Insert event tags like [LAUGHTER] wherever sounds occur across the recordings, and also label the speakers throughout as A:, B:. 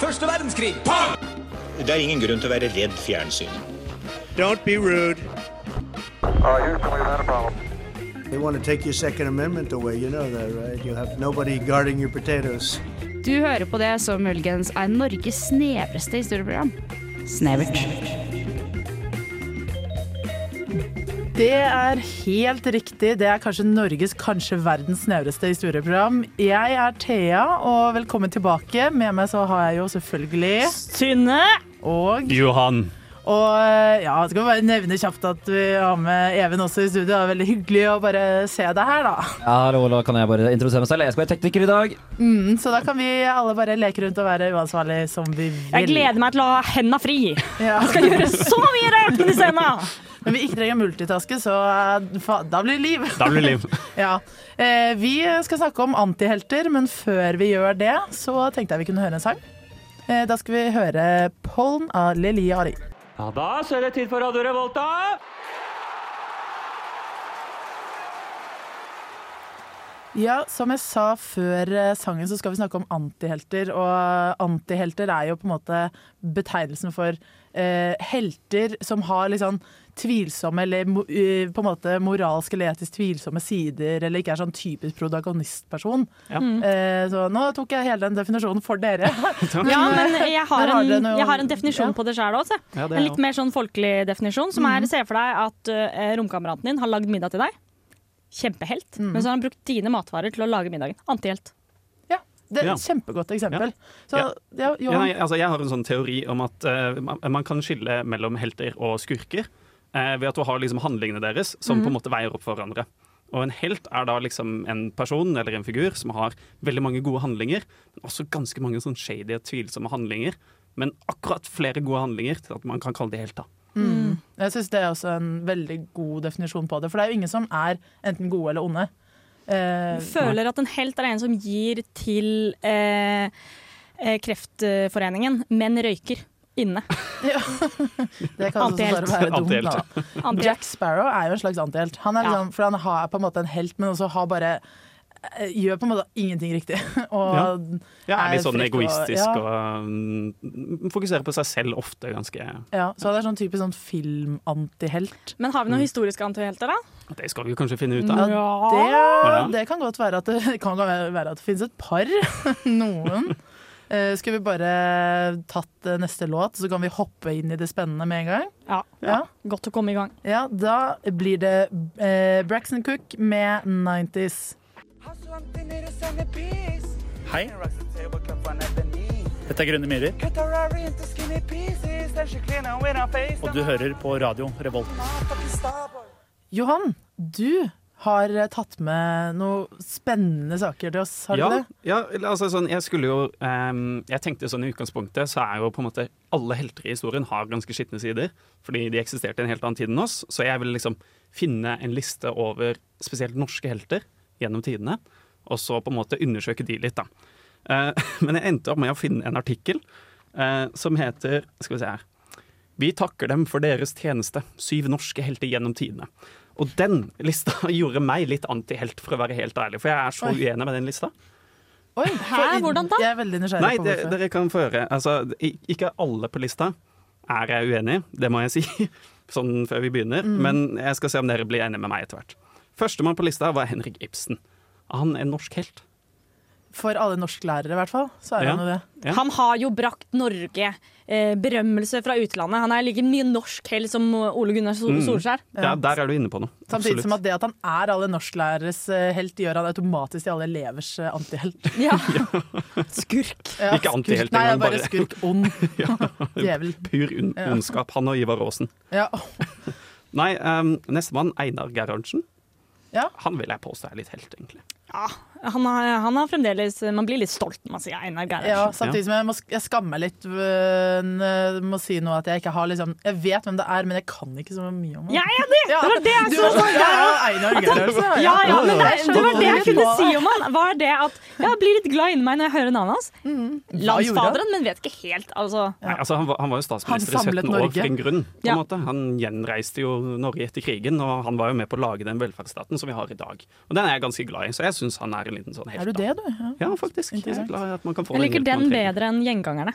A: Første verdenskrig. Pang!
B: Det er ingen grunn til å være redd fjernsyn.
C: Don't be rude.
D: Uh, Houston, we've had a problem.
E: They want to take your Second Amendment away. You know that, right? You have nobody guarding your potatoes.
F: Du hører på det som muligens er Norges snevreste historieprogram. Snevert.
G: Det er helt riktig. Det er kanskje Norges, kanskje verdens snevreste historieprogram. Jeg er Thea, og velkommen tilbake. Med meg så har jeg jo selvfølgelig
H: Synne!
G: og
I: Johan.
G: Og eh, ja, skal vi bare nevne kjapt at vi har med Even også i studio. Det er veldig hyggelig å bare se deg her, da.
H: Ja, hallo, da kan jeg bare introdusere meg selv? Jeg skal være tekniker i dag.
G: Mm, Så da kan vi alle bare leke rundt og være uansvarlige som vi vil.
J: Jeg gleder meg til å ha henda [LAUGHS] fri.
G: Ja.
J: Jeg skal gjøre så mye rart inni scena!
G: Når vi ikke trenger multitaske, så eh, fa da blir det liv.
I: Da blir det liv.
G: [LAUGHS] Ja. Eh, vi skal snakke om antihelter, men før vi gjør det, så tenkte jeg vi kunne høre en sang. Eh, da skal vi høre Pollen av Lili Ari.
K: Ja da, så er det tid for Radio Revolta.
G: Ja, som jeg sa før eh, sangen, så skal vi snakke om antihelter. Og eh, antihelter er jo på en måte betegnelsen for eh, helter som har litt sånn tvilsomme, eller mo- eh, på en måte moralsk eller etisk tvilsomme sider, eller ikke er sånn typisk protagonistperson. Eh, så nå tok jeg hele den definisjonen for
I: [LAUGHS]
G: dere.
J: Ja, [LAUGHS] men jeg har
G: Men har
J: en,
G: dere noe-
J: jeg har en definisjon på det sjøl òg.
I: Ja, det
J: En
I: er
J: litt mer sånn folkelig definisjon, som er se for deg at eh, romkameraten din har lagd middag til deg. Kjempehelt. Men så har han brukt dine matvarer til å lage middagen. Antihelt.
G: Ja, det er
I: Ja.
G: et kjempegodt eksempel. Så,
I: Ja.
G: ja,
I: Ja,
G: Johan,
I: nei, altså, jeg har en sånn teori om at eh, man, man kan skille mellom helter og skurker eh, ved at du har liksom handlingene deres som
G: Mhm.
I: på en måte veier opp for hverandre. Og en helt er da liksom en person eller en figur som har veldig mange gode handlinger, men også ganske mange sånn shady og tvilsomme handlinger. Men akkurat flere gode handlinger til at man kan kalle det helt. da.
G: Mm. jeg syns det er også en veldig god definisjon på det. For det er jo ingen som er enten gode eller onde. Eh,
J: Føler at en helt er en som gir til eh, eh, Kreftforeningen, men røyker [LAUGHS] inne.
G: det kan også bare
J: Antihelt.
G: være dumt.
I: Antihelt.
G: Da.
J: Antihelt.
G: Jack Sparrow er jo en slags antihelt. Han er
J: Ja.
G: liksom, for han har på en måte en helt, men også har bare eh, Gjør på en måte ingenting riktig. [LAUGHS] Og
I: Ja, er
G: Er
I: litt sånn
G: frekk og-
I: egoistisk
G: ja.
I: og mm, fokuserer på seg selv ofte ganske
G: ja, så han er sånn typisk sånn filmantihelt.
J: Men har vi noen historiske antihelter, da?
I: Det skal vi jo kanskje finne ut av.
G: Det, det kan godt være at det, [LAUGHS] kan godt være at det finnes et par. [LAUGHS] Noen. Eh, Skal vi bare tatt eh, neste låt, så kan vi hoppe inn i det spennende med en gang?
J: Ja.
G: Ja,
J: Godt å komme i gang.
G: ja Da blir det eh, Braxton Cook med 90s.
K: Hei. Dette er Grønne myrer, og du hører på Radio Revolt.
G: Johan, du har eh, tatt med noen spennende saker til oss, har du
I: ja,
G: det?
I: Ja, eller altså sånn, jeg skulle jo ehm, Jeg tenkte sånn i utgangspunktet så er jo på en måte alle helter i historien har ganske skitne sider, fordi de eksisterte i en helt annen tid enn oss. Så jeg ville liksom finne en liste over spesielt norske helter gjennom tidene, og så på en måte undersøke de litt, da. Eh, [LAUGHS] men jeg endte opp med å finne en artikkel eh, som heter Skal vi se her. Vi takker dem for deres tjeneste, syv norske helter gjennom tidene. Og den lista [LAUGHS] gjorde meg litt antihelt, for å være helt ærlig, for jeg er så
G: Oi.
I: uenig med den lista.
G: Oi,
J: Hæ,
G: for-
J: hvordan da?
G: Jeg er veldig nysgjerrig
I: Nei,
G: på
I: det,
G: hvorfor.
I: dere kan få høre. Altså, i- ikke alle på lista er jeg uenig i, det må jeg si. [LAUGHS] Sånn før vi begynner.
G: Mm.
I: Men jeg skal se om dere blir enige med meg etter hvert. Førstemann på lista var Henrik Ibsen. Han er en norsk helt.
G: For alle norsklærere, i hvert fall, så er
I: Ja.
G: han jo det.
I: Ja.
J: Han har jo brakt Norge eh, berømmelse fra utlandet. Han er like mye norsk helt som Ole Gunnar Sol Solskjær.
I: Der, der er du inne på noe.
G: Samtidig som
I: Absolutt.
G: at det at han er alle norsklæreres eh, helt, gjør han automatisk til alle elevers eh, antihelt.
J: [LAUGHS] Ja. Skurk.
G: Ja,
I: [LAUGHS] Ikke antihelt
G: skurk. Nei,
I: engang,
G: bare
I: bare-
G: skurk.
I: [LAUGHS]
G: Ond. Djevel.
I: Pur un ondskap. Han og Ivar Aasen.
G: Ja.
I: Nei, um, nestemann Einar Gerhardsen.
G: Ja.
I: Han vil jeg påstå er litt helt, egentlig.
J: Ja, han, har, han har fremdeles Man blir litt stolt når man sier Einar
G: ja,
J: Gerhardsen.
G: samtidig som jeg, må, sk- jeg skammer meg litt. øh, n- øh, må si noe at jeg ikke har liksom Jeg vet hvem det er, men jeg kan ikke så mye om ham.
J: Jeg er enig!
G: Ja.
J: Det var det jeg
G: Du
J: så
G: var sånn, ja, ja, Einar Gerhardsen.
J: Ja, ja, men det,
G: skjønner
J: det var det jeg
G: litt
J: kunne
G: hva-
J: si om han. Var det at Jeg blir litt glad inni meg når jeg hører navnet hans.
G: Mm. gjorde han?
J: Landsfaderen, men vet ikke helt, altså.
I: Nei, altså, han, var, han var jo statsminister i
G: Han samlet
I: 17 år
G: Norge.
I: for en grunn. På en
J: Ja.
I: måte. Han gjenreiste jo Norge etter krigen, og han var jo med på å lage den velferdsstaten som vi har i dag. Og den er jeg ganske glad i, så jeg syns han er en en liten sånn
G: Er du
I: helt.
G: det, du? Ja.
I: Ja, faktisk. Jeg er
G: Interessant.
I: glad i at man kan få
J: Jeg
I: den
J: liker
I: hjelpen
J: den
I: man trenger.
J: bedre enn Gjengangerne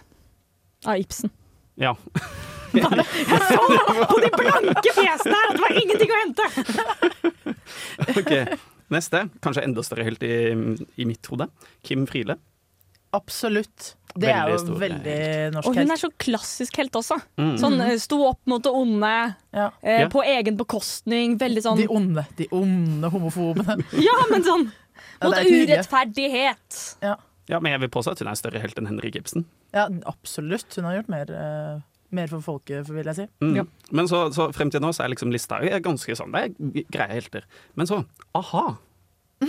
J: av Ibsen.
I: Ja. [LAUGHS]
J: På de blanke fjesene her at det var ingenting å hente!
I: Ok. Neste, kanskje enda større helt i, i mitt hode. Kim Friele.
G: Absolutt. Det er
I: Veldig
G: jo
I: stor
G: veldig norsk
J: Og hun
G: helt.
J: er så klassisk helt også.
I: Mm.
J: Sånn eh, sto opp mot det onde,
G: Ja.
J: eh,
I: Ja.
J: på egen bekostning. Veldig sånn
G: De onde, de onde [LAUGHS] homofobene.
J: [LAUGHS] Ja, men sånn
G: Ja,
J: mot
G: det er ikke hyggelig.
J: urettferdighet.
I: Ja, men jeg vil påstå at hun er større helt enn Henrik Ibsen.
G: Ja, absolutt. Hun har gjort mer, eh, mer for folket, vil jeg si.
I: Mm.
J: Ja.
I: Men så, så frem til nå så er liksom lista er ganske sånn. Det er greie helter. Men så, a-ha,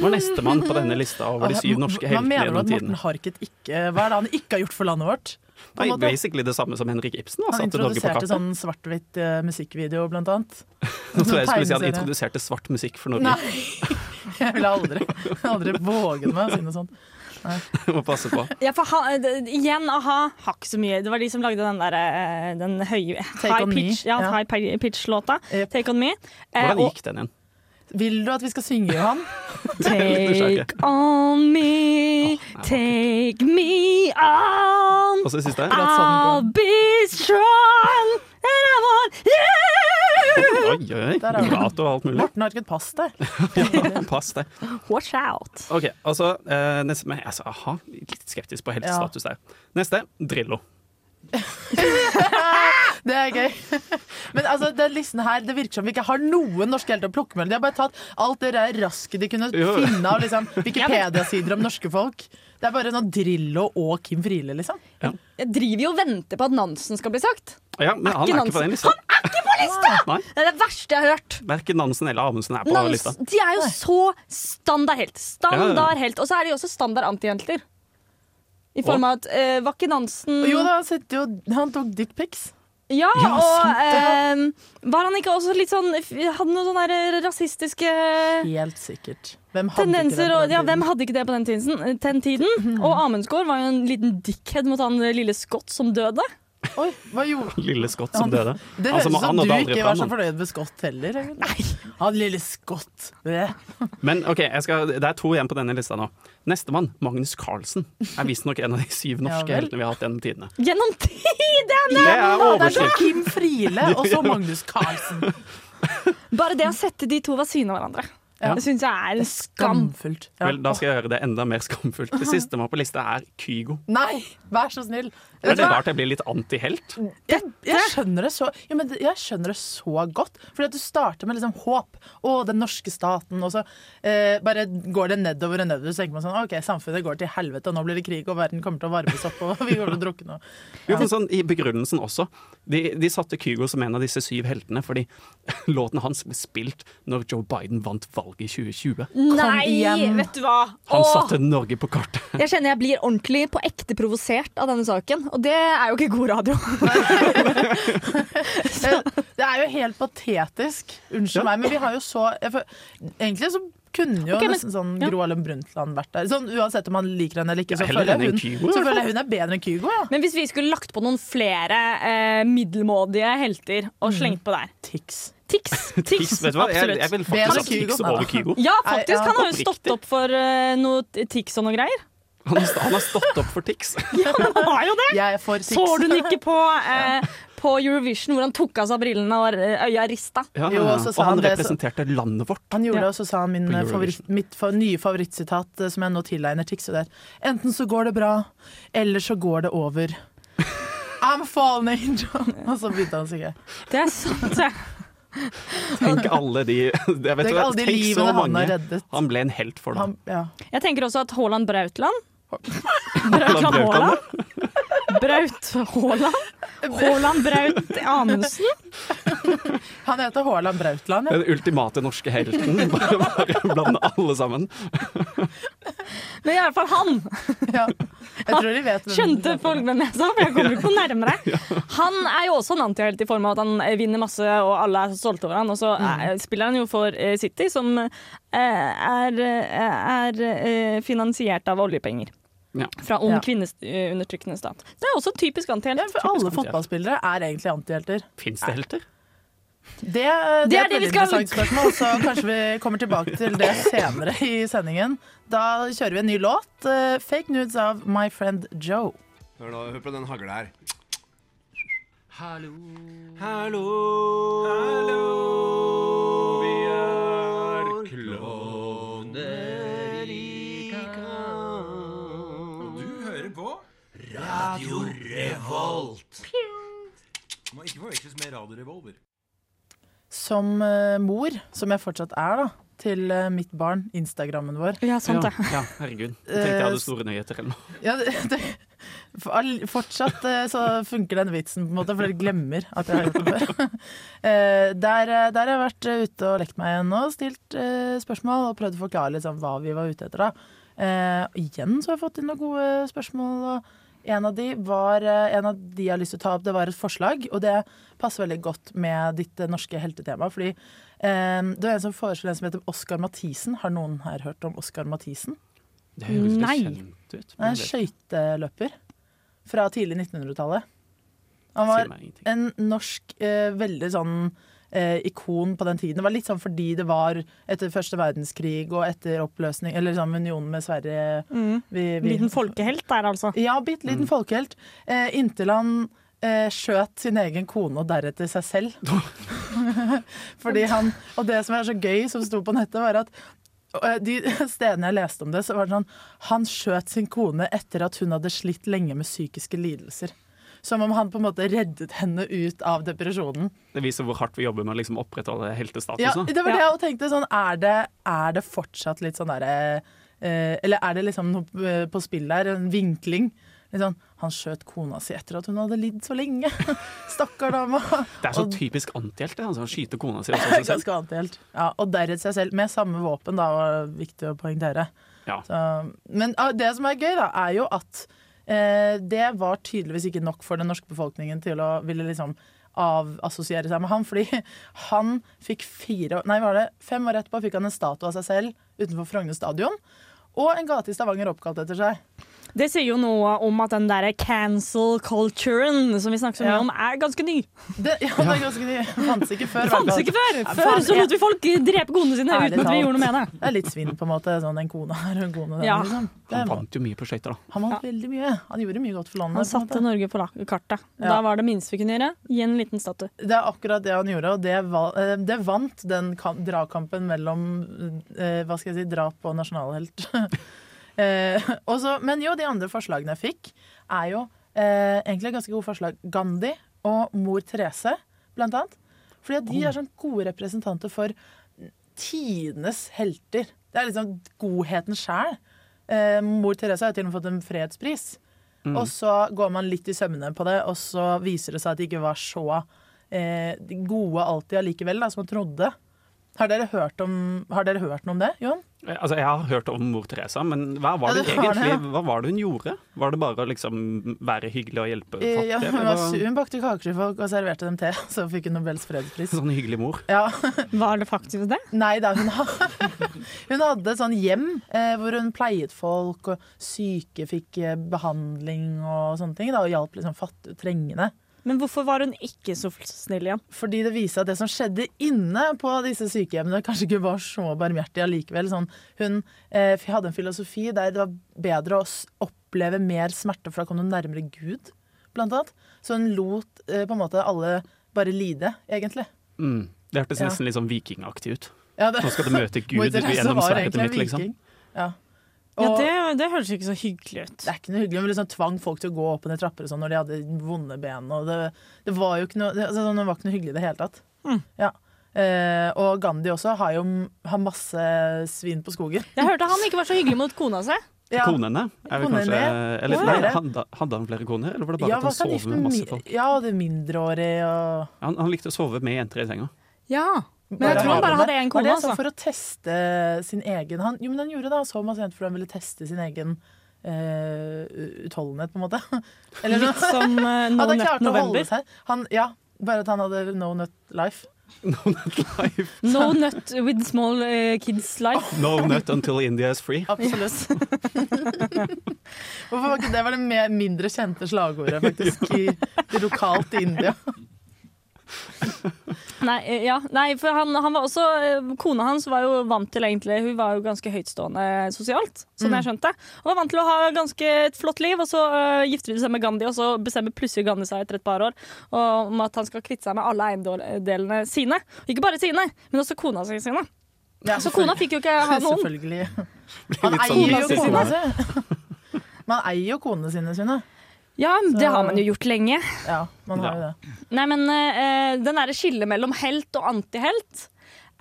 I: var nestemann på denne lista over de syv norske
G: Hva
I: heltene
G: mener du
I: gjennom
G: at Morten
I: tiden.
G: Harket ikke Hva er det han ikke har gjort for landet vårt? på en
I: Nei,
G: måte?
I: basically det samme som Henrik Ibsen. da,
G: Han
I: satte Norge på
G: introduserte
I: kartet.
G: sånn svart-hvitt eh, musikkvideo, blant annet.
I: Nå tror jeg jeg skulle si at han
G: tegneserie.
I: introduserte svart musikk for Norge.
G: Nei! Jeg ville aldri, [LAUGHS] aldri våget meg å si noe sånt.
I: [LAUGHS] Må passe på.
J: Ja, for ha, eh, d- igjen, aha, har ikke så mye. Det var de som lagde den der eh, den høye
G: Take
J: high
G: on me.
J: pitch, ja,
G: Ja.
J: high pi- pitch-låta.
G: Yep.
J: Take on me. Eh,
I: Hvordan [LAUGHS]
J: og
I: gikk den igjen?
G: Vil du at vi skal synge, Johan?
I: nysgjerrig.
J: take on me, take me on.
I: Og så siste her.
G: akkurat sånn
J: I'll be strong and I want you!
I: Oi, oi, oi.
G: Der er den.
I: Gato og alt
G: [LAUGHS]
I: mulig.
G: Morten Harket, pass deg.
I: Ja, pass deg.
J: Watch out.
I: OK, altså eh, neste, men, altså, aha, Litt skeptisk på helsestatus der. Neste Drillo.
G: [LAUGHS] Det er gøy. [LAUGHS] Men altså, den listen her, det virker som vi ikke har noen norske helter å plukke med. De har bare tatt alt det der raske de kunne
I: [LAUGHS] Jo.
G: finne av liksom, Wikipedia-sider om norske folk. Det er bare noe Drillo og Kim Friele, liksom.
J: Jeg driver jo og venter på at Nansen skal bli sagt.
I: Ja, men han
J: ikke
I: er ikke på
J: Nansen.
I: den lista. Nei,
J: Det er det verste jeg har hørt.
I: Verken Nansen eller Amundsen er på lista.
J: Nans, de er jo så standardhelt. Standardhelt. Og så er de også standard antihelter. I form av at eh, var ikke Nansen
G: Jo da, han sitter jo, han tok dickpics.
J: Ja,
G: Ja, sant
J: og
G: det.
J: eh, var han ikke også litt sånn Hadde noen sånne her rasistiske
G: Helt sikkert. Hvem hadde ikke det
J: tendenser?
G: på
J: Og,
G: den
J: ja,
G: tiden?
J: hvem hadde ikke det på den tiden? Den tiden?
G: [LAUGHS]
J: Og Amundsgaard var jo en liten dickhead mot han lille Scott som døde.
G: Oi, hva gjorde
I: Lille Scott som døde.
G: Det høres
I: Altså,
G: ut
I: man- han
G: som
I: nådde
G: du
I: aldri
G: ikke
I: fram,
G: var så
I: han.
G: fornøyd med Scott heller. Nei. Han lille Scott. Det.
I: Men ok, jeg skal, det er to igjen på denne lista nå. Nestemann, Magnus Carlsen, er visstnok en av de syv norske
G: vel.
I: heltene vi har hatt gjennom tidene.
J: Gjennom [LAUGHS] tidene!
I: Det
G: Det
I: er
G: er sånn
I: overskrift.
G: Kim Friele
I: [LAUGHS]
G: og så Magnus Carlsen.
J: Bare det å sette de to ved siden av hverandre,
G: Ja.
J: det syns jeg er en skam.
G: Skamfullt. Ja.
I: Vel, da skal jeg gjøre det enda mer skamfullt. Det siste man har på lista er Kygo.
G: Nei, vær så snill.
I: Er
G: Vet du
I: det
G: hva?
I: rart jeg blir litt antihelt?
G: Jeg, jeg, skjønner det så, ja, men det- jeg skjønner det så godt. Fordi at du starter med liksom håp. Å, den norske staten. Og så eh, bare går det nedover og nedover. Så tenker man sånn OK, samfunnet går til helvete, og nå blir det krig, og verden kommer til å varmes opp, og [LAUGHS] vi kommer til å drukne. og-
I: Jo, men sånn, I begrunnelsen også. De, de satte Kygo som en av disse syv heltene fordi [LAUGHS] låten hans ble spilt når Joe Biden vant valget i 2020.
J: Nei,
G: igjen.
J: vet du hva?
I: Han
J: Åh,
I: satte Norge på
G: [LAUGHS]
I: kartet.
J: Jeg kjenner jeg blir ordentlig på ekte provosert av denne saken, og det er jo ikke god radio.
G: Eh, Det er jo helt patetisk. Unnskyld meg, men vi har jo så jeg, fø- Egentlig så kunne jo
J: Ok, men-
G: nesten sånn
J: ja.
G: Gro Harlem Brundtland vært der. Sånn, uansett om han liker henne eller ikke, så
I: Ja, heller
G: føler
I: enn
G: jeg hun,
I: Kygo, i
G: så
I: hvert fall.
G: føler jeg hun er bedre enn Kygo. Ja.
J: [LAUGHS] Men hvis vi skulle lagt på noen flere eh, middelmådige helter og slengt på der
G: Tix.
J: Tix.
I: [LAUGHS] Tics,
J: Tix,
I: vet du hva? Jeg, jeg
J: absolutt.
I: vil
G: Bedre
I: faktisk ha
G: Kygo.
I: Tix over Kygo.
J: Ja,
G: Nei,
J: faktisk.
G: ja,
J: Han har jo
I: oppriktig.
J: stått opp for eh, noe Tix og noe [LAUGHS] greier.
I: Han, har st- han har stått opp for
G: [LAUGHS]
I: Tix.
J: Han har jo det!
G: Jeg er for Tix.
J: Så du den ikke [LAUGHS] på, eh, på Eurovision hvor han tok av seg brillene og eh, øya rista?
I: Ja,
G: Jo, og så
I: og
G: sa
I: han
G: han det, så-
I: representerte landet vårt.
G: Han gjorde
J: Ja.
G: det, og så sa han min eh,
I: På Eurovision.
G: favoritt, mitt fa nye favorittsitat eh, som jeg nå tilegner Tix. og det er Enten så går det bra, eller så går det
J: [LAUGHS]
G: over. I'm a fallen angel. Og så begynte han å synge.
J: Det er [LAUGHS] sant, det.
I: Tenk alle de [LAUGHS] jeg vet
G: Tenk
I: hva,
G: alle de
I: tenk så
G: livene han
I: mange.
G: har reddet.
I: Han ble en helt for
G: Han,
I: dem.
G: ja.
J: Jeg tenker også at Haaland Brautland Brautland Haaland? Braut Haaland? Haaland Braut Amundsen?
G: han heter Haaland Brautland. Ja.
I: Den ultimate norske helten. [LAUGHS] Bare, bare blande alle sammen.
J: Men i alle fall han
G: Ja. Jeg tror de vet hvem-
J: skjønte folk hvem jeg sa, for jeg kommer ikke noe [LAUGHS] nærmere. Han er jo også en antihelt i form av at han eh, vinner masse og alle er så stolte over han, og så eh, spiller han jo for eh, City, som eh, er, eh, er eh, finansiert av oljepenger.
I: Ja.
J: Fra ung
G: Ja.
J: kvinneundertrykkende stat. Det er også en typisk
G: Ja,
J: antihelt.
G: for alle fotballspillere er egentlig antihelter.
I: Fins det helter?
G: Det, det,
J: Det
G: er
J: er
G: et
J: det vi
G: veldig
J: skal-
G: interessant spørsmål, så kanskje vi kommer tilbake til
J: [LAUGHS]
G: det senere i sendingen. Da kjører vi en ny låt, eh, 'Fake Nudes' av My Friend Joe.
A: Hør, da, hør på den hagla her.
L: Hallo.
A: Hallo. Vi er klovner i kamp. Og du hører på Radio Revolt. Må ikke forveksles med Radio Revolver.
G: Som eh, mor, som jeg fortsatt er, da, til eh, mitt barn, Instagrammen vår.
J: Ja, sånn. sant det.
I: Ja, ja, herregud. Jeg tenkte jeg
G: Eh,
I: hadde store nyheter eller noe.
G: Ja, det, det, for all- fortsatt eh, så funker den vitsen, på en måte, for dere glemmer at jeg har gjort det før. [LAUGHS] Eh, Der, eh, der har jeg vært eh, ute og lekt meg igjen og stilt eh, spørsmål og prøvd å forklare litt sånn hva vi var ute etter. da. Eh, igjen så har jeg fått inn noen gode spørsmål. og en av, de var, eh, en av de jeg har lyst til å ta opp, det var et forslag, og det passer veldig godt med ditt eh, norske heltetema. fordi eh, det var en som foreslo en som heter Oskar Mathisen. Har noen her hørt om Oskar Mathisen?
I: Det høres litt
G: Nei.
I: kjent ut.
G: Han er
I: men
G: en
I: det-
G: skøyteløper fra tidlig 1900-tallet. Han var en norsk eh, veldig sånn eh, ikon på den tiden. Det var litt sånn fordi det var etter første verdenskrig og etter oppløsning Eller sånn unionen med Sverige.
J: Mm. Liten folkehelt der, altså.
G: Ja, bitte liten folkehelt. Eh, inntil han eh, skjøt sin egen kone og deretter seg selv. Fordi han, og det som er så gøy, som sto på nettet, var at eh, de [LAUGHS] stedene jeg leste om det, så var det sånn Han skjøt sin kone etter at hun hadde slitt lenge med psykiske lidelser. Som om han på en måte reddet henne ut av depresjonen.
I: Det viser hvor hardt vi jobber med å liksom opprettholde heltestatus.
G: Ja,
I: da.
G: det var det jeg også tenkte. Sånn, er, det, er det fortsatt litt sånn derre eh, Eller er det liksom noe eh, på spill der? En vinkling? Litt sånn, han skjøt kona si etter at hun hadde lidd så lenge. [LAUGHS] Stakkar dame.
I: Det er så
G: Og-
I: typisk antihelte. Altså, han skyter
G: [LAUGHS]
I: kona si også seg selv.
G: Ganske annet helt. Ja, og deretter seg selv. Med samme våpen, da, var viktig å poengtere.
I: Ja.
G: Så, men ah, det som er gøy, da, er jo at eh, det var tydeligvis ikke nok for den norske befolkningen til å ville liksom avassosiere seg med han, fordi [LAUGHS] han fikk fire år- Nei, var det fem år etterpå fikk han en statue av seg selv utenfor Frogner stadion. Og en gate i Stavanger oppkalt etter seg.
J: Det sier jo noe om at den der cancel culturen som vi snakker så mye
G: Ja.
J: om, er ganske ny.
G: Det, ja, det er ganske ny. Fantes ikke før. i hvert
J: Fantes
G: fall.
J: ikke før!
G: Ja,
J: Før
G: faen,
J: så lot vi folk drepe konene sine
G: Ærlig
J: uten at vi
G: talt.
J: gjorde noe med det.
G: Det er litt svinn, på en måte. Sånn en kone her og en kone der.
J: Ja.
G: Liksom. Det
I: Han
G: er-
I: vant jo mye på skøyter, da.
G: Han vant veldig mye. Han gjorde mye godt for landet. på
J: Han
G: en
J: satte
G: måte.
J: Norge på la- kartet.
G: Ja.
J: Da var det minste vi kunne gjøre, gi en liten statue.
G: Det er akkurat det han gjorde, og det, val- eh, det vant den kam- dragkampen mellom eh, hva skal jeg si, drap og nasjonalhelt. [LAUGHS] Eh, og så- men jo, de andre forslagene jeg fikk, er jo eh, egentlig ganske gode forslag. Gandhi og mor Therese, blant annet. Fordi at de er sånn gode representanter for tidenes helter. Det er liksom godheten sjæl. Eh, mor Therese har jo til og med fått en fredspris.
J: Mm.
G: Og så går man litt i sømmene på det, og så viser det seg at de ikke var så eh, gode alltid allikevel, da, som man trodde. Har dere hørt, om, har dere hørt noe om det, Johan?
I: Eh, Altså, jeg har hørt om mor Teresa, men hva var
G: Ja,
I: det,
G: det har
I: egentlig
G: det, ja.
I: Hva var det hun gjorde? Var det bare å liksom være hyggelig og hjelpe
G: Eh,
I: fattige?
G: ja, hun,
I: eller
G: var,
I: hva-
G: su- hun bakte kaker til folk og serverte dem te, [LAUGHS] så fikk hun Nobels fredspris.
I: Sånn hyggelig mor.
G: Ja. [LAUGHS]
J: Var det faktisk det?
G: Nei da, hun, ha- [LAUGHS] hun hadde et sånn hjem eh, hvor hun pleiet folk, og syke fikk eh, behandling og sånne ting, da, og hjalp liksom fattige og trengende.
J: Men hvorfor var hun ikke så snill igjen?
G: Fordi det viser at det som skjedde inne på disse sykehjemmene, kanskje ikke var så barmhjertig allikevel. Sånn, hun eh, hadde en filosofi der det var bedre å s- oppleve mer smerte, for da kom du nærmere Gud, blant annet. Så hun lot eh, på en måte alle bare lide, egentlig.
I: Mm. Det hørtes
G: Ja.
I: nesten litt sånn vikingaktig
G: [LAUGHS]
I: ut.
G: Ja, det-
I: Nå skal du møte
G: Mor
I: Altså, Gud
G: Therese
I: gjennom
G: var
I: sverdet
G: egentlig en
I: mitt, liksom.
G: viking. Ja.
J: Ja,
G: Og-
J: det, det høres ikke så hyggelig ut.
G: Det er ikke noe hyggelig, men liksom tvang folk til å gå opp under trapper og sånn når de hadde vonde ben. Og det, det var jo ikke noe, det, altså, sånn, det var ikke noe hyggelig i det hele tatt.
J: Mm.
G: Ja. Eh, og Gandhi også har jo har masse svin på skogen.
J: Jeg hørte han ikke var så hyggelig mot kona si.
G: Ja.
I: Konene? Er vel
G: Konene,
I: kanskje, eller,
G: ja.
I: nei, hadde, hadde han flere koner, eller var det bare
G: Ja,
I: at han
G: var
I: sov
G: gift
I: med masse
G: mi-
I: folk?
G: Ja, det er mindreårig og
I: Han, han likte å sove med jenter i senga. [LAUGHS]
J: Ja. Men
G: Bare
J: jeg tror han bare
G: havene.
J: hadde én
G: Var
J: kone.
G: det sånn
J: Altså.
G: For å teste sin egen han, Jo, men han gjorde det. Han så masse jenter fordi han ville teste sin egen eh, utholdenhet, på en måte. [LAUGHS]
J: Litt som, [LAUGHS] eh, No
G: At han
J: Nut
G: klarte å holde
J: November.
G: seg. Han, ja, bare at han hadde no nut life.
J: No nut with small eh, kids life.
I: No nut until India is free.
G: Absolutt. [LAUGHS] Hvorfor var ikke det var det mer, mindre [LAUGHS] kjente slagordet faktisk i, lokalt i India?
J: Nei, eh, ja. Nei for han, han var også eh, Kona hans var jo vant til egentlig Hun var jo ganske høytstående sosialt, sånn jeg skjønte. Hun var vant til å ha ganske et flott liv, og så eh, gifter de seg med Gandhi, og så bestemmer plutselig Gandhi seg etter et par år og, om at han skal kvitte seg med alle eiendelene sine. Ikke bare sine, men også kona si sine. så kona fikk jo ikke ha noen.
G: Selvfølgelig. Man
J: litt
G: eier jo
J: sånn
G: kona si.
J: rasistisk.
G: [LAUGHS] Man eier jo konene sine, Synne.
J: Ja, det har man jo gjort lenge.
G: Ja, man har jo det.
J: Nei, men eh, den derre skillet mellom helt og antihelt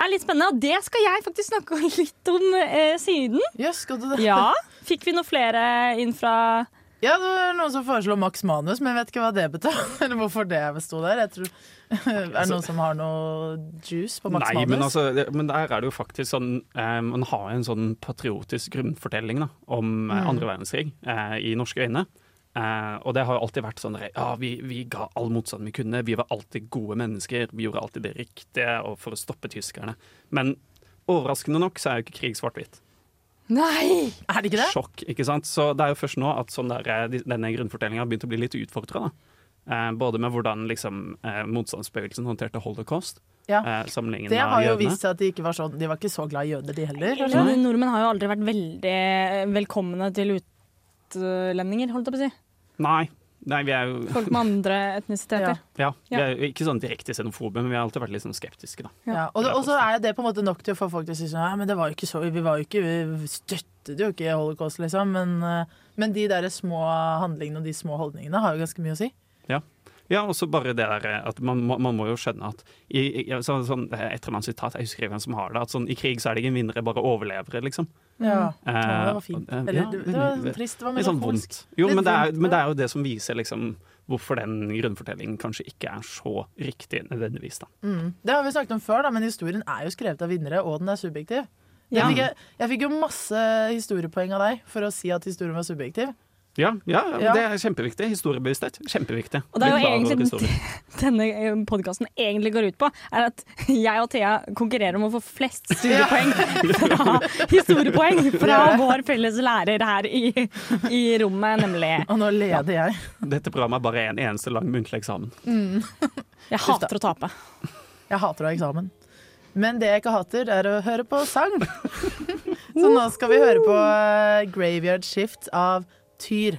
J: er litt spennende, og det skal jeg faktisk snakke [LAUGHS] om litt om eh, siden. [LAUGHS] Ja. Fikk vi noen flere inn fra
G: [LAUGHS] Ja, det var noen som foreslo Max Manus, men jeg vet ikke hva det betød. [LAUGHS] Eller hvorfor det sto der. Jeg tror, [LAUGHS] er det noen som har noe juice på Max
I: Altså, Nei,
G: Manus?
I: men, altså, det- men der er det jo faktisk sånn eh, Man har en sånn patriotisk grunnfortelling da, om eh,
G: Mm.
I: andre verdenskrig eh, i norske øyne. Eh, og det har jo alltid vært sånn der, ja, vi, vi ga all motstand vi kunne, vi var alltid gode mennesker, vi gjorde alltid det riktige og for å stoppe tyskerne. Men overraskende nok så er jo ikke krig svart-hvitt.
J: Nei!
G: Er det ikke det?
I: Sjokk, ikke sant? Så det er jo først nå at sånn der, eh, de- denne grunnfortellingen har begynt å bli litt utfordra. Eh, både med hvordan liksom, eh, motstandsbevegelsen håndterte holocaust.
G: Ja.
I: eh, sammenlignet
G: Det har
I: med
G: jo
I: jødene.
G: vist seg at de ikke var sånn De var ikke så glad i jøder, de heller.
J: Ja,
G: kanskje?
J: Nordmenn har jo aldri vært veldig eh, velkomne til utlendinger, holdt jeg på å si.
I: Nei. Nei, vi er jo
J: Folk med andre etnisiteter.
I: Ja, vi
J: Ja.
I: er jo ikke sånn direkte xenofobe, men vi har alltid vært litt sånn skeptiske, da.
G: Ja, og, det- og så er det på en måte nok til å få folk til å si sånn Nei, men det var jo ikke så Vi var jo ikke Vi støttet jo ikke holocaust, liksom. Men, eh, men de derre små handlingene og de små holdningene har jo ganske mye å si.
I: Ja. Ja, og så bare det der eh, at man, må- man må jo skjønne at i, i, ja, så, sånn, eh, Et eller annet sitat, jeg husker ikke hvem som har det, at sånn, i krig så er det ingen vinnere, bare overlevere, liksom.
G: [LAUGHS]
J: Mm.
G: Ja.
I: Eh,
G: Ja, det var fint.
I: eh,
G: Eller, det- det var trist, det var
I: litt sånn
G: melankolsk.
I: vondt. Jo,
G: Litt
I: men det, er,
G: vondt,
I: men det er jo det som viser liksom hvorfor den grunnfortellingen kanskje ikke er så riktig nødvendigvis, da.
G: Mm. Det har vi snakket om før, da, men historien er jo skrevet av vinnere, og den er subjektiv.
I: Ja.
G: Jeg, fikk, jeg, jeg fikk jo masse historiepoeng av deg for å si at historien var subjektiv.
I: Ja, ja, ja,
G: Ja.
I: det er kjempeviktig. Historiebevissthet. Kjempeviktig.
J: Og det er jo
I: Beklager
J: egentlig
I: historie.
J: denne podkasten egentlig går ut på, er at [LAUGHS] jeg og Thea konkurrerer om å få flest studiepoeng [LAUGHS] fra, historiepoeng fra vår felles lærer her i, i rommet, nemlig.
G: Og nå leder jeg.
I: Dette programmet er bare en eneste lang muntlig eksamen.
J: Jeg hater å tape.
G: Jeg hater å ha eksamen. Men det jeg ikke hater, er å høre på
J: [LAUGHS]
G: sang. Så nå skal vi høre på eh, Graveyard Shift av Tyr.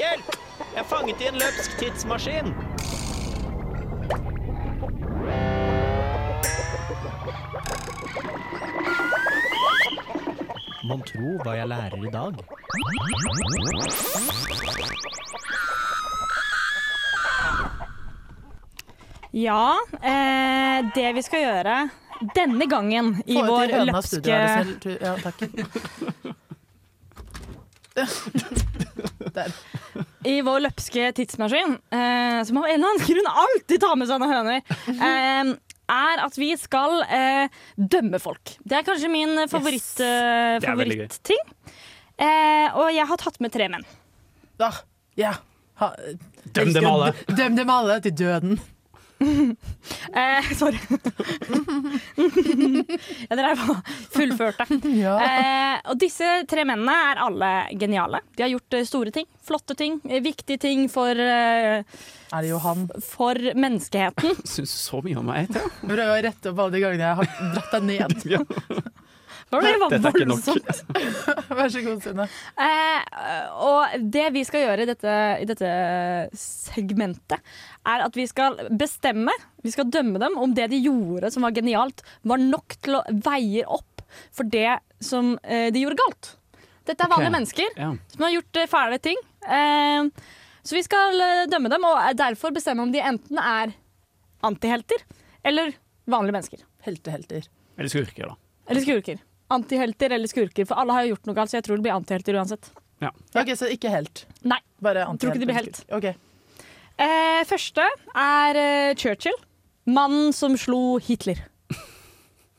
K: Hjelp! Jeg er fanget i en løpsk tidsmaskin.
M: Mon tro hva jeg lærer i dag?
J: Ja, eh, det vi skal gjøre denne gangen i
G: Få ut
J: vår
G: høna av studio,
J: løpske
G: er det snill? Ja, takk. [LAUGHS]
J: I vår løpske tidsmaskin, eh, som av en eller annen grunn alltid tar med seg noen høner, eh, er at vi skal eh, dømme folk. Det er kanskje min favoritt,
G: Det
J: eh,
G: er veldig gøy.
J: favorittting. Eh, og jeg har tatt med tre menn.
G: Da, ja. Ha,
J: Døm dem alle.
G: Døm dem alle til døden.
J: Eh, [LAUGHS] sorry. jeg drev og fullførte. Eh, og disse tre mennene er alle geniale. De har gjort eh, store ting, flotte ting, eh, viktige ting for eh,
G: Er det Johan?
J: For menneskeheten.
I: Syns så mye om meg, Thea.
G: Prøv å rette opp alle de gangene jeg har dratt deg ned.
J: Var det
I: Dette er ikke nok.
J: voldsomt?
G: [LAUGHS] Vær så god, Synne.
J: Eh, og det vi skal gjøre i dette, i dette segmentet, er at vi skal bestemme, vi skal dømme dem om det de gjorde som var genialt, var nok til å veie opp for det som eh, de gjorde galt. Dette er
N: Ok.
J: vanlige mennesker
N: Ja.
J: som har gjort eh, fæle ting. Eh, så vi skal eh, dømme dem, og derfor bestemme om de enten er antihelter eller vanlige mennesker.
G: Heltehelter.
I: Eller skurker, da.
J: Eller skurker. Antihelter eller skurker, for alle har jo gjort noe galt, så jeg tror det blir antihelter uansett.
I: Ja.
G: Ok, Så ikke helt?
J: Nei.
G: Bare
J: Tror ikke de blir
G: antihelt. Ok.
J: Eh, første er eh, Churchill. Mannen som slo Hitler.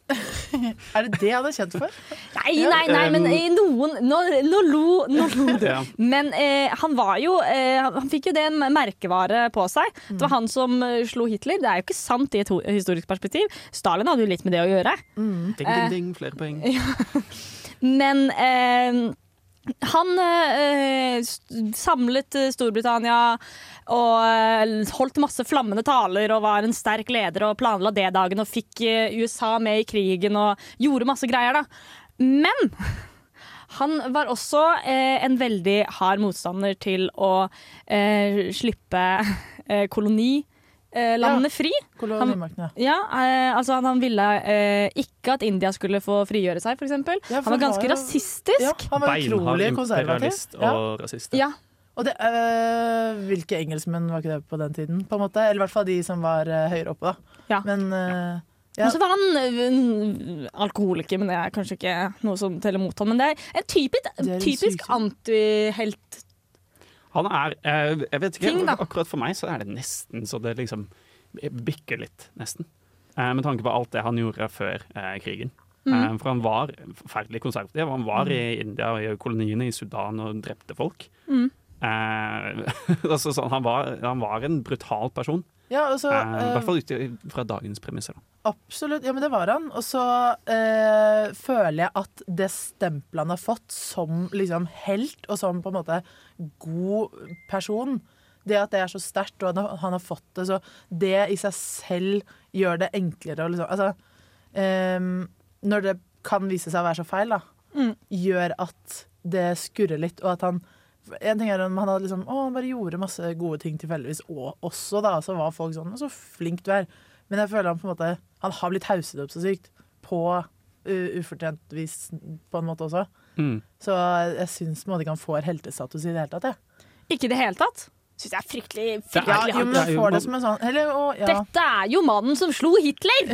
G: Er det det han er kjent for?
J: Nei, nei, nei, men i noen Nå, nå lo, nå lo du.
G: Ja.
J: [LAUGHS] Men eh, han var jo eh, Han han fikk jo det en merkevare på seg. Det var han som eh, slo Hitler. Det er jo ikke sant i et ho- historisk perspektiv. Stalin hadde jo litt med det å gjøre.
I: Ding, ding, ding, flere poeng.
J: Men eh, Han eh, st- samlet eh, Storbritannia og eh, holdt masse flammende taler og var en sterk leder og planla D-dagen og fikk eh, USA med i krigen og gjorde masse greier, da. Men han var også eh, en veldig hard motstander til å eh, slippe eh, koloni. eh, Landene fri. Han,
G: Kolonimaktene.
J: ja, eh, altså han, han ville eh, ikke at India skulle få frigjøre seg, f.eks. eksempel
G: Ja, for
J: han var
G: han
J: ganske
G: var jo-
J: rasistisk.
G: Han var
I: Beinhard
G: utrolig konservativ.
I: imperialist og
G: Ja.
I: rasist.
J: Ja.
G: Og det, øh, hvilke engelskmenn var ikke det på den tiden? På en måte? Eller i hvert fall de som var øh, høyere oppe, da. Men øh, ja.
J: Og så var han ø, en alkoholiker, men det er kanskje ikke noe som teller mot ham. Men det er en typisk, typisk antihelt.
I: Han er eh, Jeg vet ikke,
J: Ting, da.
I: akkurat for meg så er det nesten så det liksom bikker litt, nesten. Eh, med tanke på alt det han gjorde før eh, krigen.
N: Mhm.
G: Mm.
I: Eh, for han var forferdelig konservativ. Han var i India og i koloniene i Sudan og drepte folk.
G: Mhm.
I: Eh, [LAUGHS] altså, sånn, han, var, han var en brutal person.
G: Ja, og så,
I: eh, I
G: eh,
I: hvert fall ut fra dagens premisser. Da.
G: Absolutt. Ja, men det var han. Og så eh, føler jeg at det stempelet han har fått som liksom helt, og som på en måte god person Det at det er så sterkt, og at han har fått det, så det i seg selv gjør det enklere å liksom Altså eh, Når det kan vise seg å være så feil, da, gjør at det skurrer litt, og at han en ting er om han hadde liksom, å, han bare gjorde masse gode ting tilfeldigvis og, også, da. Så var folk sånn Så flink du er. Men jeg føler han på en måte Han har blitt hauset opp så sykt. På u- ufortjent vis, på en måte også.
I: Mm.
G: Så jeg syns på en måte ikke han får heltestatus i det hele tatt. Jeg.
J: Ikke i det hele tatt? Syns jeg er fryktelig,
G: Ja,
J: fryktelig
G: jo, men
J: hardt.
G: han får det som en sånn eller, å, ja.
J: Dette er jo mannen som slo Hitler!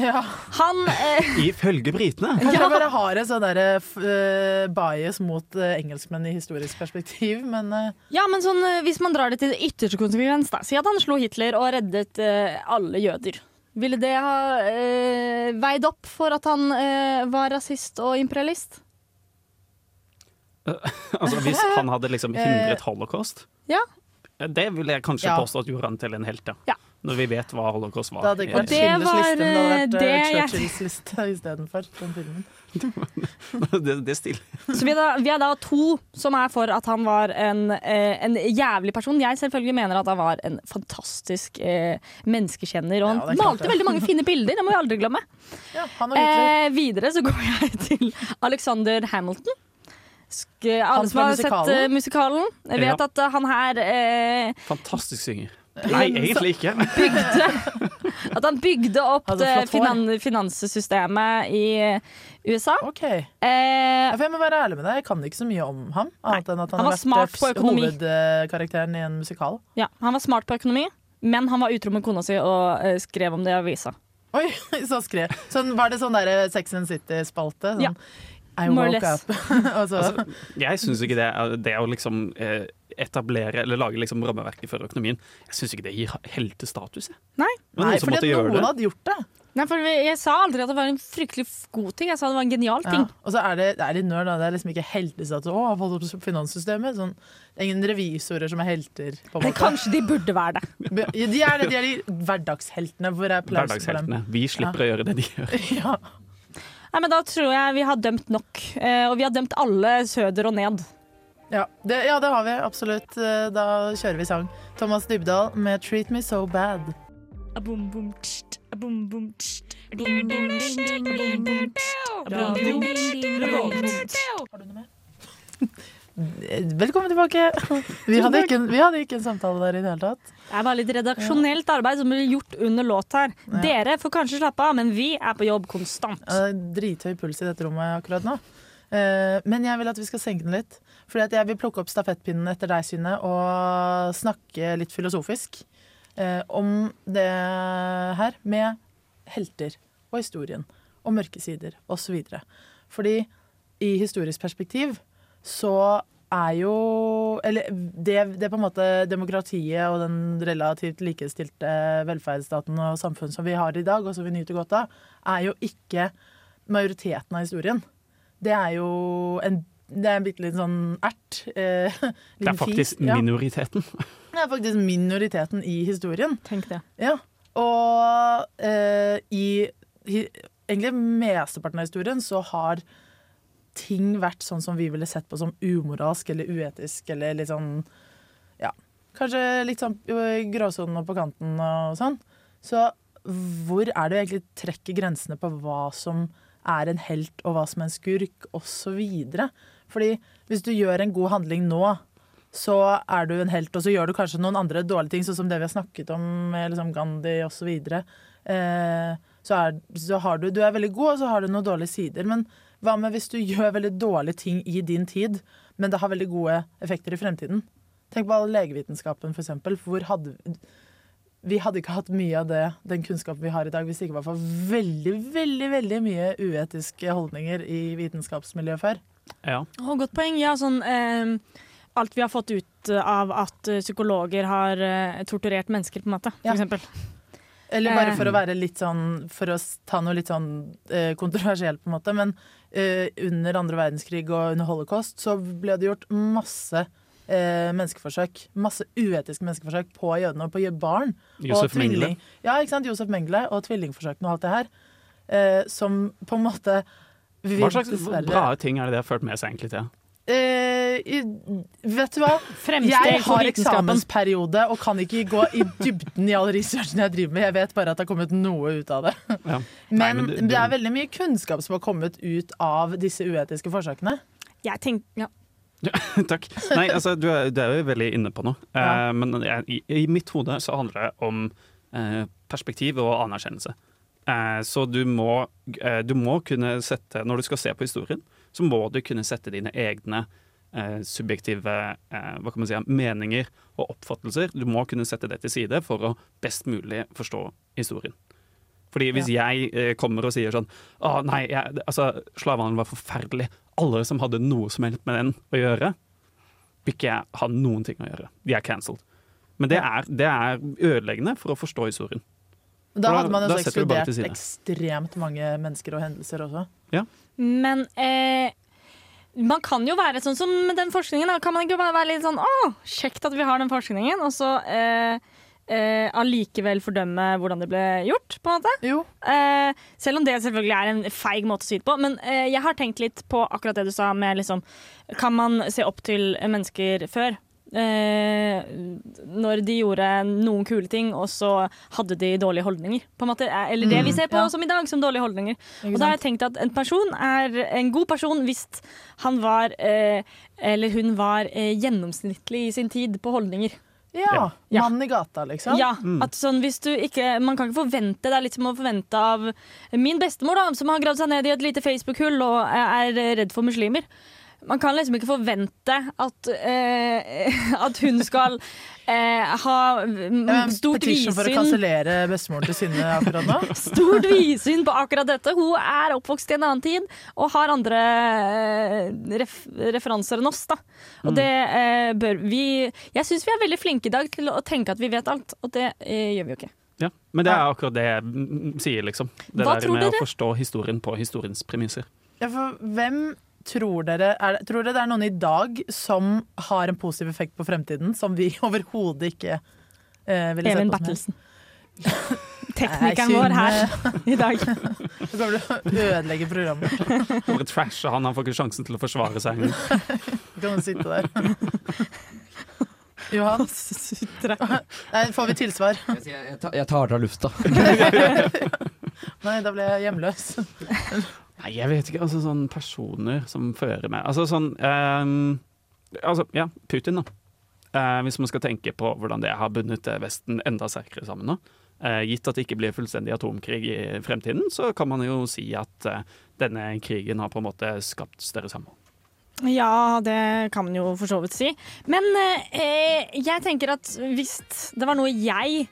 J: Han eh,
I: Ifølge britene!
G: Jeg tror jeg bare har en sånn der, eh, f- eh, bias mot eh, engelskmenn i historisk perspektiv, men eh,
J: Ja, men sånn, eh, Hvis man drar det til det ytterste konsekvens, da. Si at han slo Hitler og reddet eh, alle jøder. Ville det ha eh, veid opp for at han eh, var rasist og imperialist?
I: [LAUGHS] altså, hvis han hadde liksom
J: Eh.
I: hindret holocaust
J: Ja.
I: eh, Det ville jeg kanskje
J: Ja.
I: påstå at gjorde han til en helt, ja.
J: Ja.
I: Når vi vet hva holocaust var. Eh,
G: det hadde ikke
I: i-
G: vært Schindlers
J: var,
G: liste, men det hadde vært eh,
J: eh, det jeg-
G: Churchills liste istedenfor. Den filmen.
I: [LAUGHS] det, det stiller
J: Så vi er, da, vi er da to som er for at han var en, eh, en jævlig person. Jeg selvfølgelig mener at han var en fantastisk eh, menneskekjenner. Og han
G: Ja, det er klart
J: malte
G: det.
J: veldig mange fine bilder, det må vi aldri glemme.
G: han og Hitler.
J: Eh, videre så går jeg til Alexander Hamilton. Sk
G: Han
J: alle som
G: fra
J: har sett
G: musikalen?
J: eh, musikalen, vet
I: Ja.
J: at eh, han her eh,
I: Fantastisk synger.
G: Eh,
I: Nei, egentlig ikke. [LAUGHS]
J: At han bygde opp
G: Hadde flott hår.
J: det finan finanssystemet i eh, USA. Eh,
G: Ja, for jeg må være ærlig med deg, jeg kan ikke så mye om ham. Annet enn at han,
J: han var
G: har vært
J: smart
G: eh,
J: på økonomi.
G: hovedkarakteren i en musikal.
J: Ja, han var smart på økonomi, men han var utro med kona si og eh, skrev om det i avisa.
G: Oi, [LAUGHS] så skrev sånn, Var det sånn der Sex and City-spalte? Sånn,
J: Ja.
G: I
J: More or
G: woke
J: less.
G: up. [LAUGHS] Og så-
I: Altså, jeg syns ikke det, er- det å liksom eh, etablere eller lage liksom rammeverket for økonomien Jeg syns ikke det gir heltestatus. jeg.
J: Nei.
I: Det var noen som måtte gjøre det.
G: gjort det.
J: Nei, for Jeg sa aldri at det var en fryktelig f- god ting. Jeg sa det var en genial
G: ja.
J: ting.
G: Og så er det, det er litt nerd, da. Det er liksom ikke heltestatus. Å, har fått opp finanssystemet. Sånn, det er ingen revisorer som er helter. På en
J: Men
G: måte.
J: kanskje de burde være det.
G: Be- ja, De er det, de er de hverdagsheltene. Hvor er applausen for dem?
I: Hverdagsheltene. Vi slipper å gjøre det de gjør.
G: [LAUGHS]
J: Nei, men Da tror jeg vi har dømt nok. Eh, og vi har dømt alle søder og ned.
G: Ja det, ja, det har vi. Absolutt. Eh, Da kjører vi sang. Thomas Dybdahl med 'Treat Me So Bad'. Eh, Velkommen tilbake. [LAUGHS] Vi hadde ikke, en- vi hadde ikke en samtale der i det hele tatt.
J: Det er bare litt redaksjonelt arbeid som blir gjort under låt her. Dere får kanskje slappe av, men vi er på jobb konstant.
G: Ja, det er Drithøy puls i dette rommet akkurat nå. Eh, Men jeg vil at vi skal senke den litt. Fordi at jeg vil plukke opp stafettpinnen etter deg, Synne, og snakke litt filosofisk eh, om det her med helter og historien og mørke sider osv. Fordi i historisk perspektiv så er jo Eller det, det er på en måte demokratiet og den relativt likestilte velferdsstaten og samfunn som vi har i dag, og som vi nyter godt av, er jo ikke majoriteten av historien. Det er jo en, det er en bitte liten sånn ert. Eh, [LAUGHS]
I: Det
G: liten
I: er faktisk
G: fis, ja.
I: minoriteten. [LAUGHS]
G: Det er faktisk minoriteten i historien.
J: Tenk det.
G: Ja. Og eh, i hi, egentlig mesteparten av historien så har ting vært sånn som vi ville sett på som umoralsk eller uetisk eller litt sånn Ja, kanskje litt sånn ø, gråsonen og på kanten og sånn. Så hvor er det egentlig trekker grensene på hva som er en helt og hva som er en skurk, osv. Fordi hvis du gjør en god handling nå, så er du en helt, og så gjør du kanskje noen andre dårlige ting, sånn som det vi har snakket om med liksom Gandhi osv. Eh, så, er, så har du, du er veldig god, og så har du noen dårlige sider. Men hva med hvis du [LAUGHS] gjør veldig dårlige ting i din tid, men det har veldig gode effekter i fremtiden? Tenk på all legevitenskapen, f.eks. Hvor hadde vi hadde ikke hatt mye av det, den kunnskapen vi har i dag, hvis det ikke var for veldig, veldig veldig mye uetiske holdninger i vitenskapsmiljøet før.
I: Ja.
J: Å, godt poeng. Ja, sånn eh, Alt vi har fått ut av at eh, psykologer har eh, torturert mennesker, på en måte, for eksempel.
G: Eller bare
J: Eh.
G: for å være litt sånn For å s- ta noe litt sånn eh, kontroversielt, på en måte. Men eh, under andre verdenskrig og under holocaust så ble det gjort masse eh, menneskeforsøk. Masse uetiske menneskeforsøk på jødene og på jø- barn.
I: Josef
G: og tvilling-
I: Mengele.
G: Ja, ikke sant. Josef Mengele og tvillingforsøkene og alt det her. eh, som på en måte vi
I: Hva slags
G: dessverre-
I: bra ting er det det har ført med seg, egentlig? til?
G: Eh, i- vet du hva?
J: Fremsteg
G: jeg
J: for
G: har
J: vitenskapen.
G: eksamensperiode og kan ikke gå i dybden i all researchen jeg driver med. Jeg vet bare at det har kommet noe ut av det.
I: Ja. Nei,
G: Men,
I: men
G: det,
I: det-
G: er veldig mye kunnskap som har kommet ut av disse uetiske forsøkene.
J: Jeg tenker, ja.
I: [LAUGHS] Takk. Nei, altså, du er, du er jo veldig inne på noe. Eh, men jeg, i, i mitt hode så handler det om eh, perspektiv og anerkjennelse. Eh, så du må, eh, du må kunne sette Når du skal se på historien, så må du kunne sette dine egne eh, subjektive eh, hva kan man si, meninger og oppfattelser. Du må kunne sette det til side for å best mulig forstå historien. Fordi hvis jeg eh, kommer og sier sånn Å nei, jeg, altså, slavehandelen var forferdelig. Alle som hadde noe som helst med den å gjøre, vil ikke jeg ha noen ting å gjøre. De er cancelled. Men det er, det er ødeleggende for å forstå historien.
G: Da
I: For
G: hadde man jo
I: da
G: så
I: setter du bare til
G: ekskludert
I: side.
G: ekstremt mange mennesker og hendelser også.
I: Ja.
J: Men eh, man kan jo være sånn som den forskningen. Da. Kan man ikke bare være litt sånn Å, kjekt at vi har den forskningen, og så eh, eh, allikevel fordømme hvordan det ble gjort, på en måte? Eh, selv om det selvfølgelig er en feig måte å si det på. Men eh, jeg har tenkt litt på akkurat det du sa med liksom Kan man se opp til mennesker før? Eh, når de gjorde noen kule ting, og så hadde de dårlige holdninger. På en måte. Eh, Eller det
G: Mm,
J: vi ser på
G: ja.
J: som i dag, som dårlige holdninger. Og da
G: sant?
J: har jeg tenkt at en person er en god person hvis han var, eh, eller hun var, eh, gjennomsnittlig i sin tid på holdninger.
G: Ja. Mann i gata, liksom.
J: Ja, at sånn hvis du ikke Man kan ikke forvente Det er litt som å forvente av min bestemor, da, som har gravd seg ned i et lite Facebook-hull og eh, er redd for muslimer. Man kan liksom ikke forvente at, eh, [LAUGHS] at hun skal eh, ha mm, stort
G: Petition for å
J: vidsyn
G: kansellere bestemoren til Synne akkurat
J: [LAUGHS]
G: nå.
J: Stort vidsyn på akkurat dette. Hun er oppvokst i en annen tid og har andre eh, ref referanser enn oss. Da. Og
N: Mm.
J: det eh, bør vi Jeg syns vi er veldig flinke i dag til å tenke at vi vet alt, og det eh, gjør vi jo ikke.
I: Ja. Men det er akkurat det jeg mm, sier, liksom. Det
J: Hva
I: der
J: tror
I: med
J: dere?
I: å forstå historien på historiens premisser.
G: Ja, for hvem tror dere er det, Tror dere det er noen i dag som har en positiv effekt på fremtiden, som vi [LAUGHS] overhodet ikke eh, ville sett
J: Even
G: på som
J: Bertelsen.
G: Nei,
J: Teknikeren vår her i dag.
G: helst? Så kommer du [LAUGHS] å ødelegge programmet.
I: Bare trashe han, han får ikke sjansen til å forsvare seg.
G: Så kan du sitte
J: [LAUGHS]
G: der. Johan? Nei, får vi tilsvar?
H: Jeg tar- Jeg tar det av lufta.
G: Nei, da ble jeg hjemløs.
I: Nei, jeg vet ikke. Altså sånn personer som fører med Altså sånn ehm, Altså, ja, Putin, da. Eh, hvis man skal tenke på hvordan det har bundet eh, Vesten enda sterkere sammen nå. Eh, gitt at det ikke blir fullstendig atomkrig i fremtiden, så kan man jo si at eh, denne krigen har på en måte skapt større samhold.
J: Ja, det kan man jo for så vidt si. Men eh, jeg tenker at hvis det var noe jeg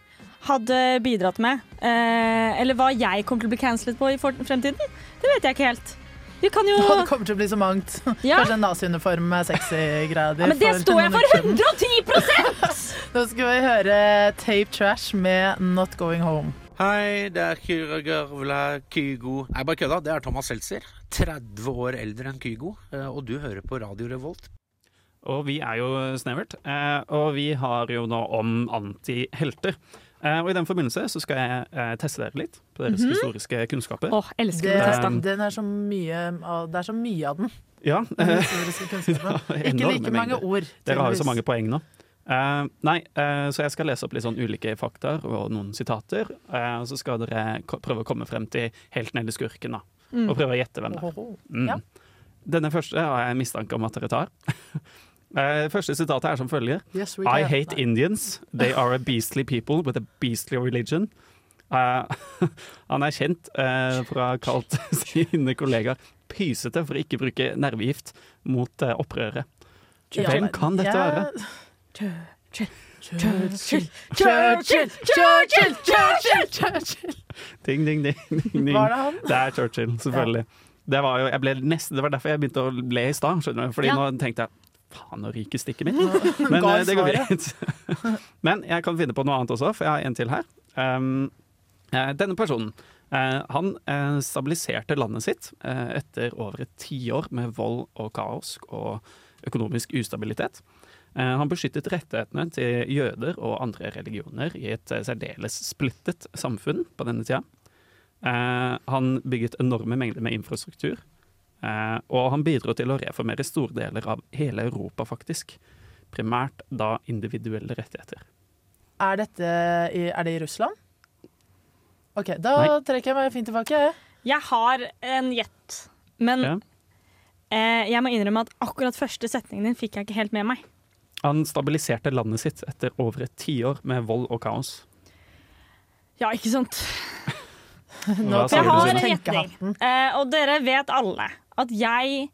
J: hadde bidratt med, eh, eller hva jeg kommer til å bli cancelet på i for fremtiden, det vet jeg ikke helt. Vi kan jo
G: Å, det kommer til å bli så mangt.
J: Ja.
G: Kanskje en naziuniform med sexy greier.
J: Ja, men det står jeg for 110
G: Nå skal vi høre Tape Trash med Not Going Home.
O: Hei, det er Kyra Garvla Kygo. Nei, bare kødda. Det er Thomas Seltzer. 30 år eldre enn Kygo. eh, Og du hører på Radio Revolt.
I: Og vi er jo snevert, eh, og vi har jo nå om antihelter. Eh, Og i den forbindelse så skal jeg eh, teste dere litt på deres
G: Mhm.
I: historiske kunnskaper.
G: det,
I: Eh,
G: den er så mye av, det er så mye
I: [LAUGHS]
G: av den.
I: Ja. eh,
G: Den historiske
I: [LAUGHS]
G: kunnskapen. Ikke
I: enorme
G: like mange
I: mengder.
G: ord.
I: Dere har jo så
G: tydeligvis.
I: mange poeng nå. Eh, nei, eh, så jeg skal lese opp litt sånn ulike fakta og noen sitater. eh, og så skal dere ko- prøve å komme frem til helt ned i skurken, da.
N: Mm.
I: Og prøve å gjette hvem det er.
N: Ohoho.
I: Mm.
N: Ja.
I: Denne første har jeg mistanke om at dere tar. [LAUGHS] Eh, første sitatet er som følger.
N: Yes, we
I: I
N: can.
I: hate Indians. They are a beastly people with a beastly religion. Eh, [LAUGHS] han er kjent eh, for å ha kalt [LAUGHS] sine kollegaer pysete for å ikke bruke nervegift mot eh, opprørere. Hvem kan dette være?
J: Churchill,
G: Churchill,
J: Churchill, Churchill, Churchill,
G: Churchill!
I: Ding, ding, ding, ding, ding.
G: Var det han?
I: Det er Churchill, selvfølgelig. Det, var jo, jeg ble nesten, det var derfor jeg begynte å le i stad, skjønner du. Fordi
G: Ja.
I: nå tenkte jeg faen, nå ryker stikket mitt.
G: [LAUGHS] Nå
I: Men
G: ga
I: eh, det går
G: svaret.
I: greit. [LAUGHS] Men jeg kan finne på noe annet også, for jeg har en til her. Um, eh, denne personen eh, han eh, stabiliserte landet sitt eh, etter over et tiår med vold og kaos og økonomisk ustabilitet. Eh, han beskyttet rettighetene til jøder og andre religioner i et eh, særdeles splittet samfunn på denne tida. Eh, han bygget enorme mengder med infrastruktur. eh, og han bidro til å reformere store deler av hele Europa, faktisk. Primært da individuelle rettigheter.
G: Er dette i, er det i Russland? OK, da trekker jeg meg fint tilbake.
J: Jeg har en gjett,
G: Mm.
J: men
I: Ja.
J: eh, jeg må innrømme at akkurat første setningen din fikk jeg ikke helt med meg.
I: Han stabiliserte landet sitt etter over et tiår med vold og kaos.
J: Ja, ikke sant?
I: Hva
J: jeg
I: sier du,
J: har sånn en
I: Sune?
J: gjetning, eh, og dere vet alle at jeg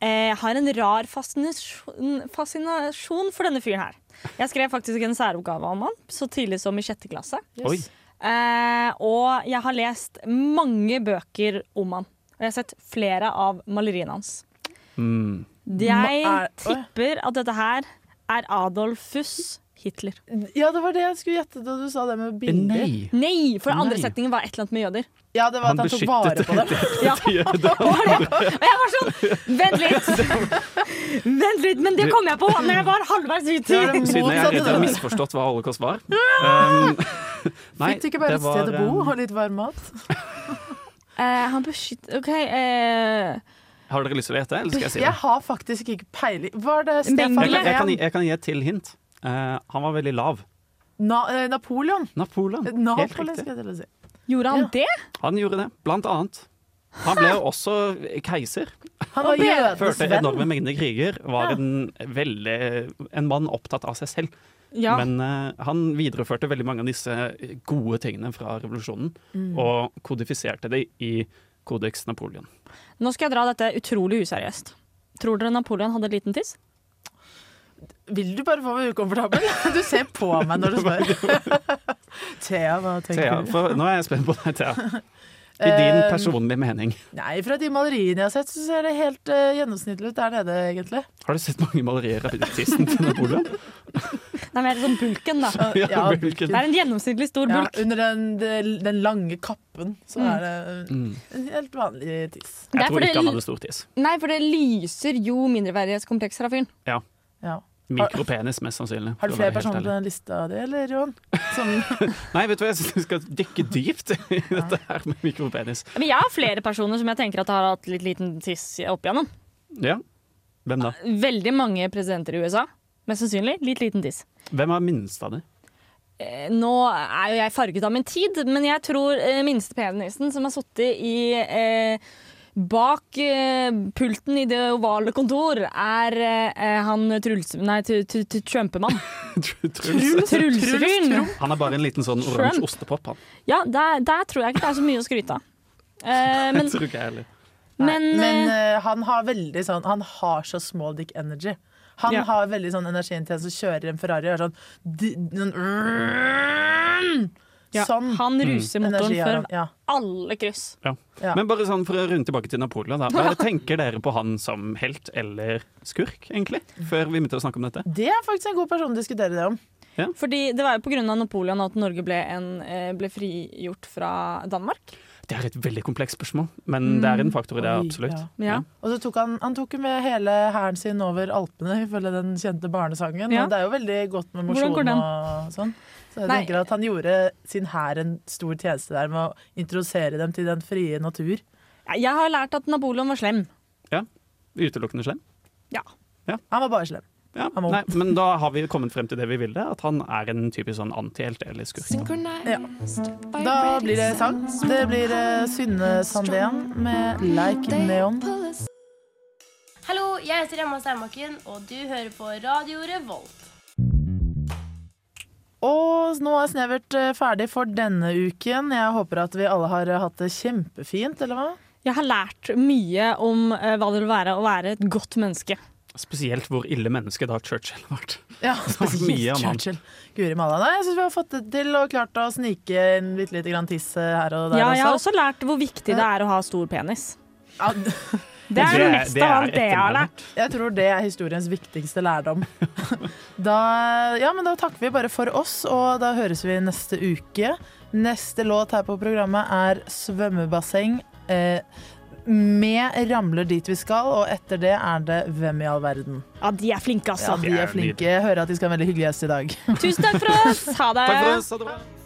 J: eh, har en rar fascinasjon, fascinasjon for denne fyren her. Jeg skrev faktisk en særoppgave om han så tidlig som i sjette klasse.
I: Oi.
J: Eh, og jeg har lest mange bøker om han. Og jeg har sett flere av maleriene hans.
I: Mm.
J: Jeg
G: Ma- er-
J: tipper at dette her er Adolfus Hitler.
G: Ja, det var det jeg skulle gjette da du sa det med bilder.
I: Eh, Nei.
J: Nei, for den andre
G: Nei.
J: setningen var et eller annet med jøder.
G: Ja, det var at han tok vare på dem.
J: Ja. Og jeg var sånn Vent litt! Vent litt, Men det kom jeg på når jeg var halvveis ute.
I: Siden jeg er redd jeg har misforstått hva holocaust
G: [LAUGHS]
I: var. Um, [LAUGHS] [LAUGHS] nei,
G: Fikk du ikke bare
I: det
G: et
I: var,
G: sted å bo
I: um,
G: og litt varm
I: [LAUGHS]
G: mat?
J: Eh, han beskytter OK. eh,
I: Har dere lyst til å gjette, eller skal jeg si det?
G: Jeg har faktisk ikke peiling. Var det Stefan
I: Jeg, jeg, kan,
G: Löfven?
I: jeg kan gi et til hint. Eh, han var veldig lav.
G: Na eh, Napoleon?
I: Napoleon. Helt
G: Eh, Napoleon
I: riktig.
G: skal jeg til å si.
J: Gjorde han det?
I: Han gjorde det, blant annet. Han ble jo også keiser.
G: Han var jødenes
I: Førte enorme
G: venn.
I: mengder kriger. Var en, veldig, en mann opptatt av seg selv.
G: Ja.
I: Men eh, han videreførte veldig mange av disse eh, gode tingene fra revolusjonen.
J: Mm.
I: Og kodifiserte det i Kodeks Napoleon.
J: Nå skal jeg dra dette utrolig useriøst. Tror dere Napoleon hadde liten tiss?
G: Vil du bare få meg ukomfortabel? [LAUGHS] Du ser på meg
I: [LAUGHS]
G: når du spør. Thea, hva
I: Thea,
G: tenker du?
I: for, nå er jeg spent på deg,
J: [LAUGHS]
I: Thea. I din
G: Eh,
I: personlige mening.
G: Nei, fra de maleriene jeg har sett, så ser det helt eh, gjennomsnittlig ut der nede,
J: [LAUGHS]
G: egentlig.
I: Har du sett mange malerier av tissen til Napoleon?
J: Nei, men er det sånn bulken, da.
G: Ja, Ja, bulken.
J: Det er en gjennomsnittlig stor
G: Ja,
J: bulk.
G: under den, den- den lange kappen, så
J: Mm.
G: er det
I: Mm.
G: en helt vanlig tiss.
J: Det er
I: Jeg tror
J: fordi-
I: ikke han hadde stor tiss.
J: Nei, for det lyser jo mindreverdighetskomplekser av fyren.
I: Ja.
G: Ja.
I: Mikropenis, mest sannsynlig.
G: Har du
I: for å
G: flere
I: være helt
G: personer på
I: ærlig.
G: den lista di, eller, Johan? Som
J: [LAUGHS]
I: Nei, vet du hva, jeg syns du skal dykke dypt i dette her med mikropenis.
J: Men jeg har flere personer som jeg tenker at har hatt litt liten tiss opp igjennom.
I: Ja. Hvem da?
J: Veldig mange presidenter i USA. Mest sannsynlig litt liten tiss.
I: Hvem er minst [LAUGHS] av dem?
J: Eh, Nå er jo jeg farget av min tid, men jeg tror eh, minste penisen som har sittet i eh, Bak eh, pulten i det ovale kontor er eh, han Truls... Nei, tu- tu- tu- Trumpemann. Truls- Trulsefyren.
I: Han er bare en liten sånn oransje
J: Trump.
I: ostepop, han.
J: [LAUGHS] Ja, der, der tror jeg ikke det er så mye å skryte av. Eh, men [LAUGHS]
I: Jeg tror ikke jeg heller.
G: Nei,
J: Men,
G: men eh, han har veldig sånn Han har så small dick energy. Han
J: Ja.
G: har veldig sånn energiinntens og kjører en Ferrari og er sånn d- den,
J: ja, Mm.
G: Sånn
J: han ruser
G: energi
J: motoren
G: har
J: før
G: han, ja.
J: alle kryss.
I: Ja.
G: Ja.
I: Men bare sånn for å runde tilbake til Napoleon, da. Hva tenker dere på han som helt eller skurk, egentlig? Før vi begynte å snakke om dette?
G: Det er faktisk en god person å diskutere det om.
J: Fordi Det var jo pga. Napoleon at Norge ble, en, eh, ble frigjort fra Danmark.
I: Det er et veldig komplekst spørsmål, men det er en faktor i det,
G: Mm. Oi,
I: absolutt.
G: Ja. Og så tok han, han tok jo med hele hæren sin over Alpene, ifølge den kjente barnesangen.
J: Ja.
G: Og det er jo veldig godt med
J: Hvordan
G: mosjon
J: går den?
G: og sånn. Så jeg
J: Nei.
G: tenker at han gjorde sin hær en stor tjeneste der med å introdusere dem til den frie natur.
J: Jeg har lært at Napoleon var slem.
I: Ja. Utelukkende slem.
J: Ja.
G: Han var bare slem.
I: Ja,
G: må-
I: nei, men da har vi kommet frem til det vi ville, at han er en typisk sånn antihelt eller skurk.
G: Ja. Da blir det sang. Det blir eh, Synne Sandén med 'Like Neon'.
N: Hallo, jeg heter Emma Steinbakken, og du hører på Radio Revolt.
G: Og nå er Snevert eh, ferdig for denne uken. Jeg håper at vi alle har eh, hatt det kjempefint, eller hva?
J: Jeg har lært mye om eh, hva det vil være å være et godt menneske.
I: Spesielt hvor ille mennesket da Churchill har vært.
J: [LAUGHS]
G: Ja,
I: Det
G: [LAUGHS]
I: har vært mye om han.
G: Churchill. Guri malla. Nei, jeg syns vi har fått det til og klart å snike inn litt lite grann tiss eh, her og der
J: Ja, jeg har
G: også.
J: også lært hvor viktig det er å ha stor penis.
G: Det
J: er Det- mest det av er alt det jeg har ettermælet.
G: [LAUGHS] Jeg tror det er historiens viktigste lærdom. [LAUGHS] Da, ja, men da takker vi bare for oss, og da høres vi neste uke. Neste låt her på programmet er 'Svømmebasseng'. Eh, med 'Ramler dit vi skal', og etter det er det 'Hvem i all verden'.
J: Ja, de er flinke,
G: Ja,
J: altså.
G: de er flinke. Jeg hører at de skal ha en veldig hyggelig gjest i dag.
J: Tusen takk for oss. Ha det.
G: Takk for oss. Ha det bra.